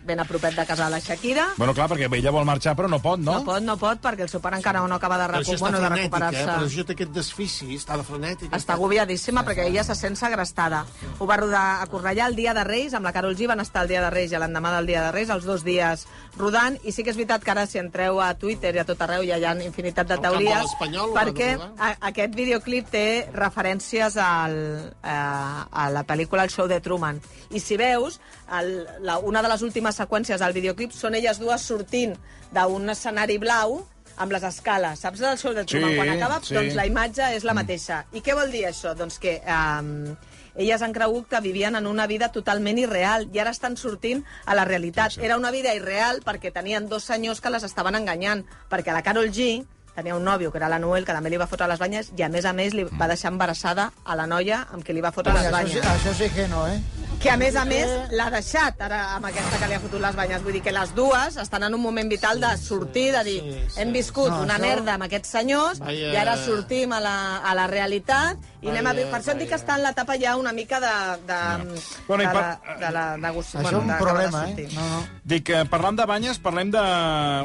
ben a propet de casa de la Shakira.
Bueno, clar, perquè ella vol marxar, però no pot, no?
No pot, no pot, perquè el seu pare encara no acaba de,
Ah. Però això
recu
està
bueno, de
frenètica, eh?
recuperar-se.
Però això té aquest desfici, està de frenètica.
Està agobiadíssima perquè ella se sent segrestada. Ho va rodar a Cornellà el dia de Reis, amb la Carol G van estar el dia de Reis i l'endemà del dia de Reis, els dos dies rodant, i sí que és veritat que ara si entreu a Twitter i a tot arreu ja hi ha infinitat de
El Camp de
teories,
l'Espanyol ho va
perquè
rodar.
a, aquest videoclip té referències al, a, a la pel·lícula El show de Truman. I si veus, el, la, una de les últimes seqüències del videoclip són elles dues sortint d'un escenari blau amb les escales, saps el show de
Sí,
Truman quan acaba?
sí.
Doncs la imatge és la mateixa. I què vol dir això? Doncs que um, elles han cregut que vivien en una vida totalment irreal i ara estan sortint a la realitat. Era una vida irreal perquè tenien dos senyors que les estaven enganyant, perquè la Carol G tenia un nòvio, que era la Noel, que també li va fotre les banyes, i a més a més li va deixar embarassada a la noia amb qui li va fotre
Ui,
les
Mm. això, sí,
banyes.
això sí que no, eh?
Que a més a més l'ha deixat ara amb aquesta que li ha fotut les banyes. Vull dir que les dues estan en un moment vital de sortir, de dir, hem viscut
No,
una
això-
merda amb aquests senyors
Vaya.
i ara sortim a la, a la realitat i anem a...
Vaya,
Per això et dic
vaya.
que està en l'etapa ja una mica de... de,
Bueno, i
de,
per-
la, de, la, de, gust-
Això
bueno,
és un
d'acabar de
problema, eh?
sortir.
No, no.
Dic, eh, parlant de banyes, parlem de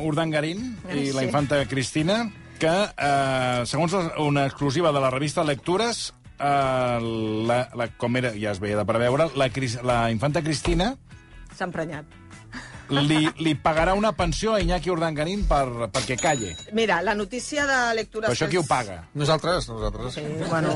Urdangarín
Ai,
i la
sí.
infanta Cristina, que, eh, segons la- una exclusiva de la revista Lectures, eh, la, la, com era, ja es veia de preveure, la, Cris- la infanta Cristina
S'ha emprenyat.
li, li pagarà una pensió a Iñaki Urdangarín per, perquè calle.
Mira, la notícia de lectura...
Però això qui ho paga?
Nosaltres, nosaltres. Sí.
Bueno,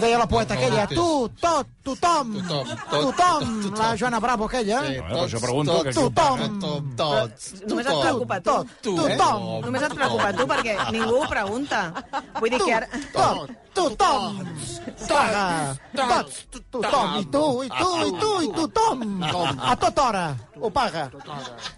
Deia la poeta
No,
aquella,
sí.
tu, tot, tothom,
Tothom, tot,
tothom,
tothom.
la Joana Bravo aquella.
Sí,
Bueno, per això pregunto que qui ho
tothom.
paga.
Tothom, tots.
Només et
tothom,
preocupa tu.
Tot,
tu, eh?
tothom,
Tothom.
Només et preocupa tu perquè ningú ho pregunta. Vull dir que ara...
tot, tothom, paga, tots, tothom, i tu, i tu, i tu, i tothom, a tota hora, ho paga.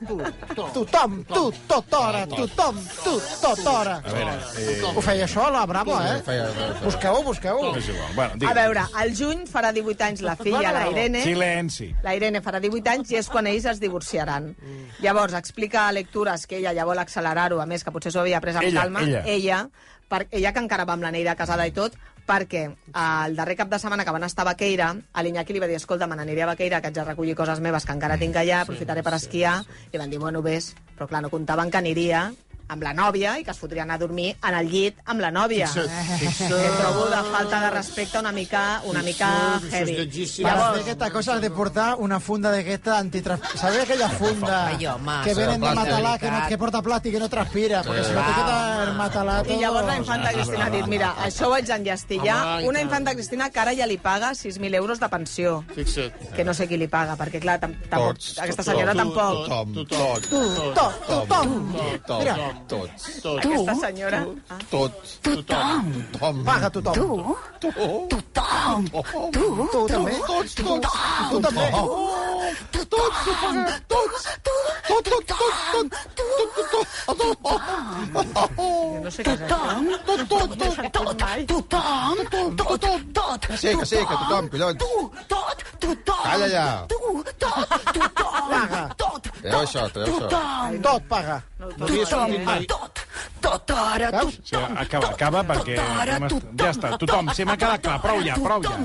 Tothom, tu, tot hora, tothom, tu, tot hora.
A veure, eh,
Ho feia això, la Bravo,
Eh,
eh?
feia- feia- feia.
Busqueu, busqueu.
és igual. Bueno,
A
digue'm.
veure, eh? al juny farà 18 anys la filla, la Irene.
Silenci.
La Irene farà 18 anys i és quan ells es divorciaran.
Mm.
Llavors, explica a lectures que ella ja vol accelerar-ho, a més, que potser s'ho havia pres amb
Ella,
calma.
ella.
Ella, per, ella, que encara va amb la Neida casada i tot, perquè el darrer cap de setmana que van estar a Baqueira, a l'Iñaki li va dir, escolta, me n'aniré a Baqueira, que haig de recollir coses meves que encara tinc allà, aprofitaré per esquiar. Li van dir, bueno, vés, però clar, no comptaven que aniria amb la nòvia i que es fotrien a dormir en el llit amb la nòvia. Que trobo de Eh, falta de respecte una mica, una mica
Això és
heavy.
lletgíssim.
Para hacer estas cosas has de portar una funda de que esta antitrans... ¿Sabes aquella funda
Ay, home,
que vienen de
plàstic.
Matalá, que, no, que porta plástico y que no transpira? Porque si no te queda el Matalá
I llavors la
todo...
Ah,
infanta Cristina ha dit, mira, això ho haig d'enllestir ja.
Home, i
Una
tant.
infanta Cristina que ara ja li paga 6.000 euros de pensió,
Fixa't.
que no sé qui li paga, perquè clar, tam tampoc,
Tots,
aquesta
tothom.
senyora
Tu,
tampoc.
Tothom,
Tú, to,
Tothom,
tots,
tú, tom.
tothom,
Mira,
tots,
Tot.
Aquesta senyora... Ah,
tots,
Tothom.
tothom.
paga tu, tom. Tú,
Tothom, Oh, tothom,
tú también.
tots, tots, tu també. Tots, ho paguem, tots. Tot, tot, tot, tot, tot, tot, tot,
jo no sé què és això.
tot, tot, tot, tot. Que Sí, que sí, que tothom, collons. Calla ja.
Paga,
Treu això, treu això.
tot paga.
No havia sentit mai.
Veus?
Sí, acaba, acaba, perquè... hem est- Ja està, tothom, si m'ha quedat clar, prou ja, prou ja.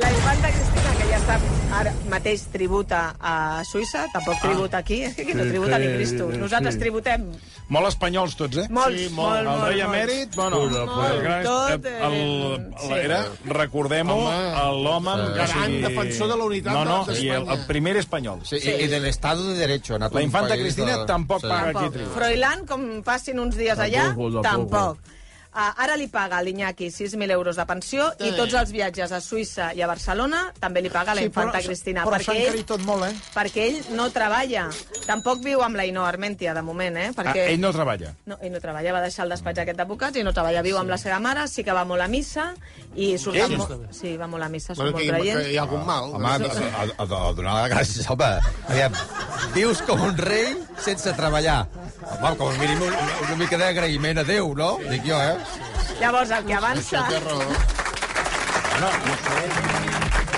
La infanta Cristina, que ja està ara mateix tributa a Suïssa, tampoc
Ah.
tributa aquí, és que aquí no tributa ni Cristo. Nosaltres tributem
Molt espanyols tots, eh?
molts,
Sí, molt.
molt,
El
molt,
rei
molt.
emèrit, bueno,
pura.
el gran,
Tot, eh,
el, el, era, recordem-ho, l'home... amb-
gran defensor de la unitat
No, no,
d'Espanya.
i el, el primer espanyol.
Sí, i, i de l'estado de derecho. ha anat
La
un
infanta
país
Cristina
de-
tampoc paga aquí
Tampoc.
tribut.
Froilán, com facin uns dies allà,
Tampoco, tampoco.
tampoc. Ah, ara li paga a l'Iñaki 6.000 euros de pensió i
Sí.
tots els viatges a Suïssa i a Barcelona també li paga la infanta Cristina.
però s'ha
perquè, ell,
encarit tot molt, eh?
perquè ell no treballa. Tampoc viu amb la Ainhoa Armentia, de moment, eh?
Ah,
Perquè...
ell no treballa.
No, ell no treballa, va deixar el despatx aquest d'advocats i no treballa, viu amb la seva mare, sí que va molt a missa i surt
Ell?
amb... mo- Sí, va molt a missa, són
Bueno, que,
molt
que
creients.
hi ha algun mal.
Home, a, a, a, a donar les gràcies, home. Aviam, vius com un rei sense treballar. Home, com a mínim una, una mica d'agraïment a Déu, no? Dic jo, eh?
Llavors, el que avança...
Té raó.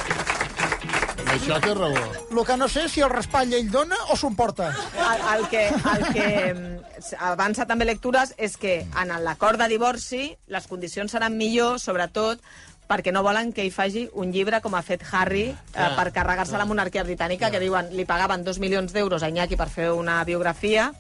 Amb Això té raó.
El que no sé és si el raspall ell dona o s'emporta.
El, el que, el que mm, avança també lectures és que en l'acord de divorci les condicions seran millor, sobretot perquè no volen que hi faci un llibre com ha fet Harry eh, per carregar-se la monarquia britànica, que diuen li pagaven dos milions d'euros a Iñaki per fer una biografia.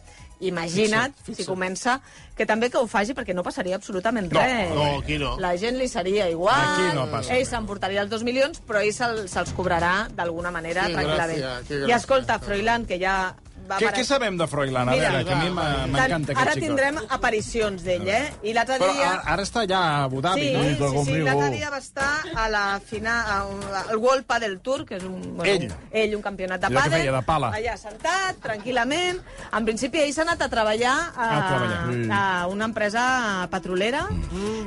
Imagina't, si comença, que també que ho faci perquè no passaria absolutament
No,
res.
No, aquí no.
La gent li seria igual,
Aquí no passa
ell
res.
s'emportaria els dos milions, però ell se'ls se'ls cobrarà d'alguna manera
Que
tranquil·lament.
gràcia, que
I
gràcia.
escolta, Froilán, que ja va
Què,
parar.
què sabem de Froilán? A
Mira,
veure, que a mi m'a- m'encanta
Ara
aquest xicot.
tindrem aparicions d'ell, eh? I l'altre
Però
dia...
ara, ara està allà a Abu Dhabi,
sí,
no?
sí, sí, l'altre
oh.
dia va estar a la final, a un- al World Padel Tour, que és un,
Ell.
un, ell, un campionat de
Allò que
pàdel.
feia de pala.
Allà sentat, tranquil·lament. En principi, ell s'ha anat a treballar a,
A treballar. Sí. Mm.
a una empresa petrolera,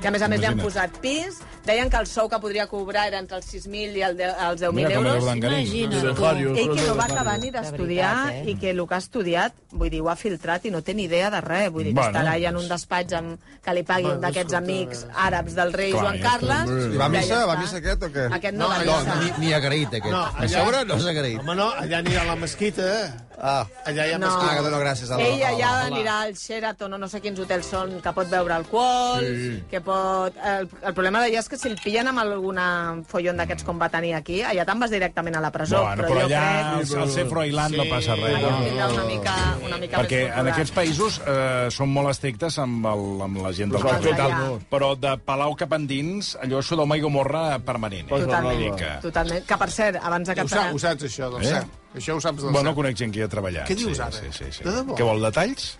que a més a més li han
Imagina't.
posat pis. Deien que el sou que podria cobrar era entre els 6.000 i el de- els 10.000
Mira com
euros.
era Blancanín.
Imagina't tu.
Dejario,
Ell que no va
Dejario.
acabar ni d'estudiar
De veritat, eh?
i que el que ha estudiat, vull dir, ho ha filtrat i no té ni idea de res. Vull dir, que
Bueno,
estarà allà en
doncs.
un despatx amb, que li pagui un d'aquests amics àrabs del rei
Clar,
Joan
ja
Carles.
I eh, va
Ja
a missa?
està.
Va a missa aquest o què?
Aquest no,
No,
va a
no,
missa.
Ni, ni agraït, aquest.
No,
No,
allà-
A sobre no és agraït.
Home, no, allà anirà a la mesquita. eh?
Ah,
Allà hi ha
No.
mesquita.
ah, que dono gràcies a la...
Ell allà
a la-
anirà al Sheraton o no sé quins hotels són, que pot beure alcohol, que pot... El, el problema d'allà és que si el pillen amb alguna follon d'aquests com va tenir aquí, allà te'n vas directament a la presó.
Bueno, però,
jo
allà,
crec...
al ser Froilán, no passa res.
Allà
No?
tindrà una mica, una mica
Perquè
més
en
controlat.
aquests països eh, són molt estrictes amb, el, amb la gent del
Pues
país i tal,
allà.
però de Palau cap endins, allò és Sodoma i Gomorra permanent. Eh?
Totalment,
Vull dir que-
totalment. Que, per cert, abans de
Ho,
acabar...
sa, ho saps, això, del
Eh?
eh? cel. Això ho saps del
Bueno,
cel.
conec gent que hi ha treballat.
Què dius
sí,
ara?
Sí, sí, sí.
De debò?
Que vol detalls?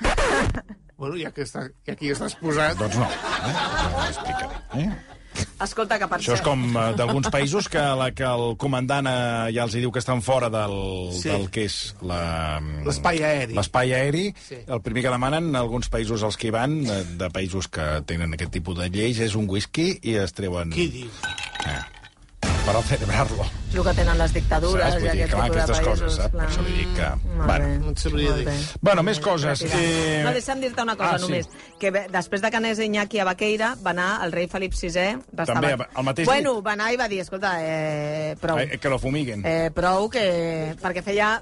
Bueno, ja que, està, ja que hi estàs posat...
Doncs no. Eh? No l'explicaré. Eh?
Escolta, que per
Això és
cert-
com eh, d'alguns països que, la, que el comandant eh, ja els hi diu que estan fora del,
Sí.
sí. del que és la- mm,
L'espai aeri.
L'espai aeri.
Sí.
Sí. El primer que demanen alguns països als que hi van, de, de països que tenen aquest tipus de lleis, és un whisky i es treuen... Eh,
Qui dius?
Per celebrar-lo.
el que tenen les dictadures
Saps? Vull
i
dir,
aquest
clar,
tipus de
aquestes
països.
coses, saps? Per això li dic que-
Molt
bueno.
bé,
No et sabria
molt
dir.
bé.
Bueno, més coses.
Eh...
Eh,
No, deixa'm dir-te una cosa
ah, sí.
només, que ve- després de que anés Iñaki a Baqueira, va anar el rei Felip VI... Va estar
També,
va-
el mateix
Bueno,
dia?
va anar i va dir, escolta, eh, prou.
Eh, que lo fumiguen.
Eh, prou, que... perquè feia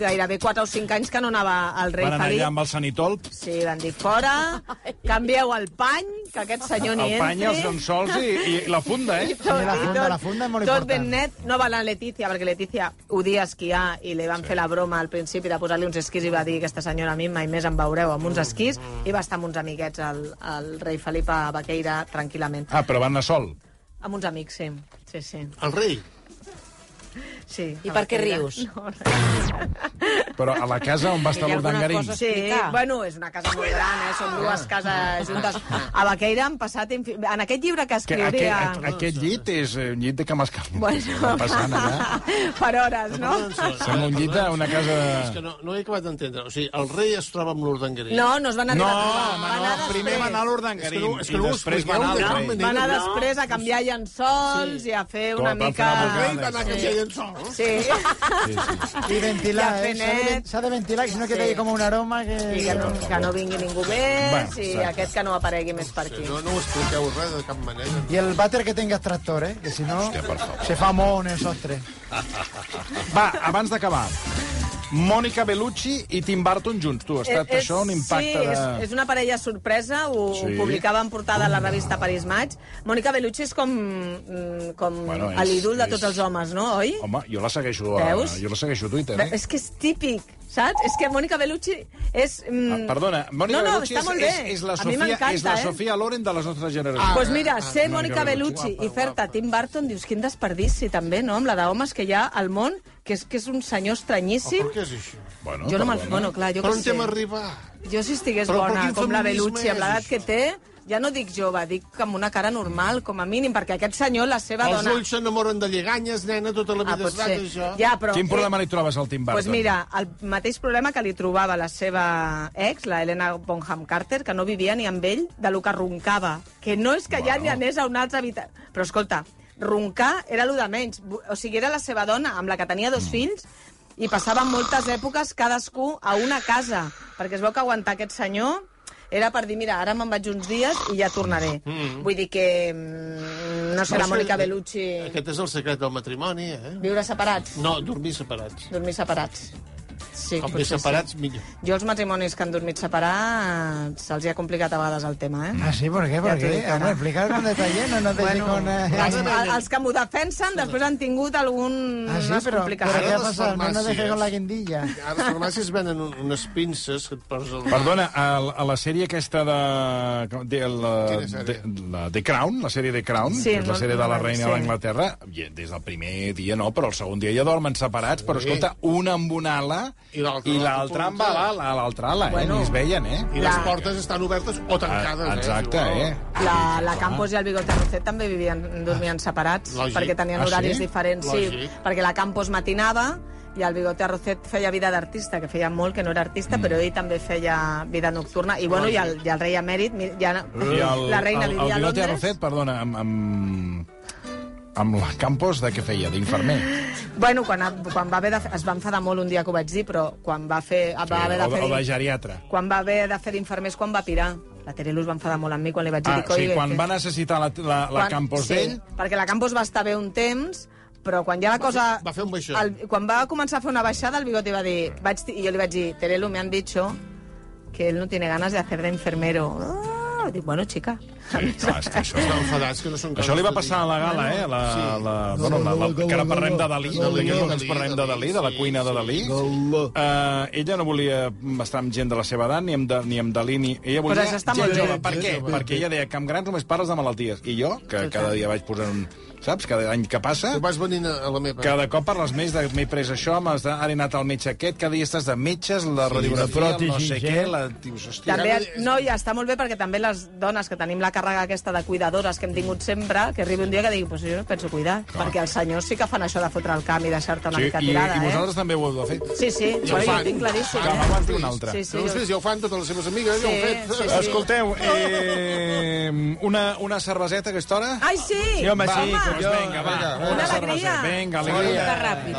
gairebé 4 o 5 anys que no anava el rei
Van anar
Felip.
allà amb el sanitol,
Sí, van dir, fora, canvieu el pany, que aquest senyor ni
el
entri.
pany, els llençols i, i la funda, eh?
Tot,
Sí, la funda,
i tot,
la funda és molt
tot
important.
ben net, no va anar Letícia, perquè Letícia odia esquiar i li van sí. fer la broma al principi de posar-li uns esquís i va dir aquesta senyora a mi mai més em veureu amb uns esquís i va estar amb uns amiguets al, al rei Felip a Baqueira tranquil·lament.
Ah, però van anar sol.
Amb uns amics, sí. Sí, sí.
El rei.
sí
I
a
per què
Baqueira.
rius?
No, res.
Però a la casa on va estar
Hi ha alguna
l'Urdangarín.
cosa-
Sí,
explicar?
bueno, és una casa molt gran, eh? Són dues cases juntes. A Baqueira han passat... infi- En aquest llibre que
Que
escriuria...
aquest, aqu- aquest llit és eh, un llit de camascal.
Bueno,
Passant allà.
per hores, no?
Sembla un llit d'una casa...
És que no, no he acabat d'entendre. O sigui, el rei es troba amb l'Urdangarí.
No, no es van
No,
arribar a trobar.
home,
Van
no,
anar
primer va
després.
anar a
És que
l'Urdangarín
no- és que
i
no ho
després va anar
expliqueu,
al
no?
rei.
Va anar
No.
després a canviar llençols
Sí.
i a fer
Com
una
van fer
mica...
la
El rei va
Ah,
anar a canviar llençols.
Sí,
Y
Ja
ventilar,
fe
eh. S'ha de ven-
net.
S'ha de ventilar, que si no
Sí.
queda ahí como un aroma que...
i que no, que no vingui ningú més
Va,
i
exacte.
aquest que no aparegui més per aquí.
No, no ho expliqueu res de cap manera.
Y el váter que tengas tractor, eh, que si no...
por favor.
se fa mono esos tres.
Va, abans d'acabar. Mònica Bellucci i Tim Burton junts. Tu, ha estat
Eh, és-
això un impacte
sí,
de...
és, és una parella sorpresa, ho, sí.
Sí. Mm.
ho publicava en portada a la revista Paris Match. Mònica Bellucci és com, mm, com
Bueno, és-
bueno, l'ídol de
és-
tots els homes, no, oi?
Home, jo la segueixo a,
Veus?
jo la segueixo a Twitter,
Bé,
eh?
És que és típic, saps? És que Mònica Bellucci és...
Ah,
Mm...
perdona, Mònica
no, no,
Bellucci
està
és,
molt
és,
bé.
és la
a mi
Sofia,
m'encanta,
és la
eh? Ah.
Sofia Loren de les nostres
Ah.
generacions.
Pues mira, ser Mònica Bellucci i fer-te Tim Burton, dius, quin desperdici també, no?, amb la d'homes que hi ha al món, que és, que és un senyor estranyíssim.
Per què és això?
Bueno,
jo no me'l...
perdona.
Bueno, clar, jo
Per
què
on
sé.
hem arribat?
Jo si estigués
Però per
bona,
quin
com la
feminisme
Bellucci, amb
és
l'edat
això?
que té, ja no dic jove, dic que amb una cara normal, com a mínim, perquè aquest senyor, la seva
Els
dona...
ulls s'enamoren de lleganyes, nena, tota la
Ah,
vida es tracta d'això.
Ja, però... eh,
Quin problema li trobes al Tim Burton?
Pues mira, el mateix problema que li trobava la seva ex, la Helena Bonham Carter, que no vivia ni amb ell, de lo que roncava. Que no és que bueno. ja
Bueno.
ni anés a un altre habitat... Però escolta, roncar era lo de menys. Bu- O sigui, era la seva dona, amb la que tenia dos fills, i passaven moltes èpoques cadascú a una casa, perquè es veu que aguantar aquest senyor era per dir, mira, ara me'n vaig uns dies i ja tornaré. Mm. Vull dir que mm, no serà
Però
Mònica
això-
Bellucci
eh, Aquest és el secret del matrimoni, eh?
viure separats,
No, dormir separats.
dormir separats. Sí,
Com
potser
més
sí.
separats, millor.
Jo els matrimonis que han dormit separats se'ls hi ha complicat a vegades el tema, eh?
Ah, sí, ¿por qué?
Ya
¿Por
te
qué?
digo,
Hombre,
¿no?
explicar con detalle, eh? no nos bueno, con...
Els,
eh,
a- els que m'ho defensen després han tingut alguna
Ah, sí, però, però
complicacions.
què ha
les
passat? No nos dejes
farmàcies.
con la guindilla.
A les farmàcies venen un, unes pinces que et poses al...
Perdona, a, la- a la sèrie aquesta de, com- de, la,
Quina sèrie?
de, la, de Crown, la sèrie de Crown,
Sí,
que és la
no-
sèrie de
no
la
la-
reina
sí.
d'Anglaterra, i des del primer dia no, però el segon dia ja dormen separats, però escolta, un amb una ala i l'altra amb ala, a l'altra ala, eh?
Bueno.
Ni es veien, eh?
I les
portes estan obertes o tancades,
eh?
Exacte,
Si
eh?
La, la Campos i el Bigote Roset també vivien, dormien separats,
Lògic.
perquè tenien
Ah, sí?
horaris diferents. Sí,
Lògic.
perquè la Campos matinava i el Bigote Roset feia vida d'artista, que feia molt que no era artista, però ell també feia vida nocturna. I, bueno, i el, i el rei emèrit, mi- ja,
I el,
la reina
el,
vivia
el
a
Bigote
Londres.
Arrocet, perdona, amb, amb, amb la Campos, de què feia? D'infermer.
Bueno, quan, quan va haver de, fer- es va enfadar molt un dia que ho vaig dir, però quan va, fer, va haver
o,
de
de-
fer...
o de geriatra.
Quan va haver de fer d'infermers, quan va pirar. La Terelus va enfadar molt amb mi quan li vaig dir...
Ah,
"Coi,
sí, quan
que-
va necessitar la, la, la
Quan-
Campos
sí,
d'ell...
perquè la Campos va estar bé un temps, però quan ja la cosa...
fer- va fer un baixó.
El, quan va començar a fer una baixada, el Bigote va dir... Vaig, dir- I jo li vaig dir, Terelu, me han dicho que él no tiene ganas de hacer de enfermero. Ah, dic, bueno, chica.
No, és que això... Estan
enfadats, que no són
Això li va passar a la gala, eh? La, la, bueno, la, la, que ara parlem de Dalí,
Dalí,
d'aquí uns moments
Dalí,
parlem de Dalí, de la cuina de Dalí. Eh, ella no volia estar amb gent de la seva edat, ni amb, da- ni amb Dalí, ni... Ella
Però
volia
això està
gent
molt bé.
jove. Per què? Perquè ella deia, Camp Grans només parles de malalties. I jo, que cada dia vaig posant un... Saps? Cada any que passa...
Vas venint a la meva...
Cada cop parles més de m'he pres això, m'has de- ara he anat al metge aquest, cada dia estàs de metges, la
Sí,
radiografia,
la
el no
pròtesi,
sé
sí.
què, la... Dius, hòstia,
També, no, ja està molt bé perquè també les dones que tenim la càrrega aquesta de cuidadores que hem tingut sempre, que arribi un dia que digui, pues jo no penso cuidar, perquè els senyors sí que fan això de fotre el camp i deixar-te una
Sí,
mica
i,
tirada,
I
eh?
vosaltres també ho heu de fer.
Sí,
I
sí,
ho
bueno, jo
fan.
ho tinc claríssim,
Que
eh?
m'aguanti una altra.
Sí, sí,
No ho sé, ja ho fan totes les seves amigues, ja ho
Sí,
han fet.
sí, sí.
Escolteu, eh, una, una cerveseta a aquesta hora?
Ai, sí!
Sí, home, sí, collons, doncs vinga, va.
Una alegria.
Vinga, alegria.
Ràpid.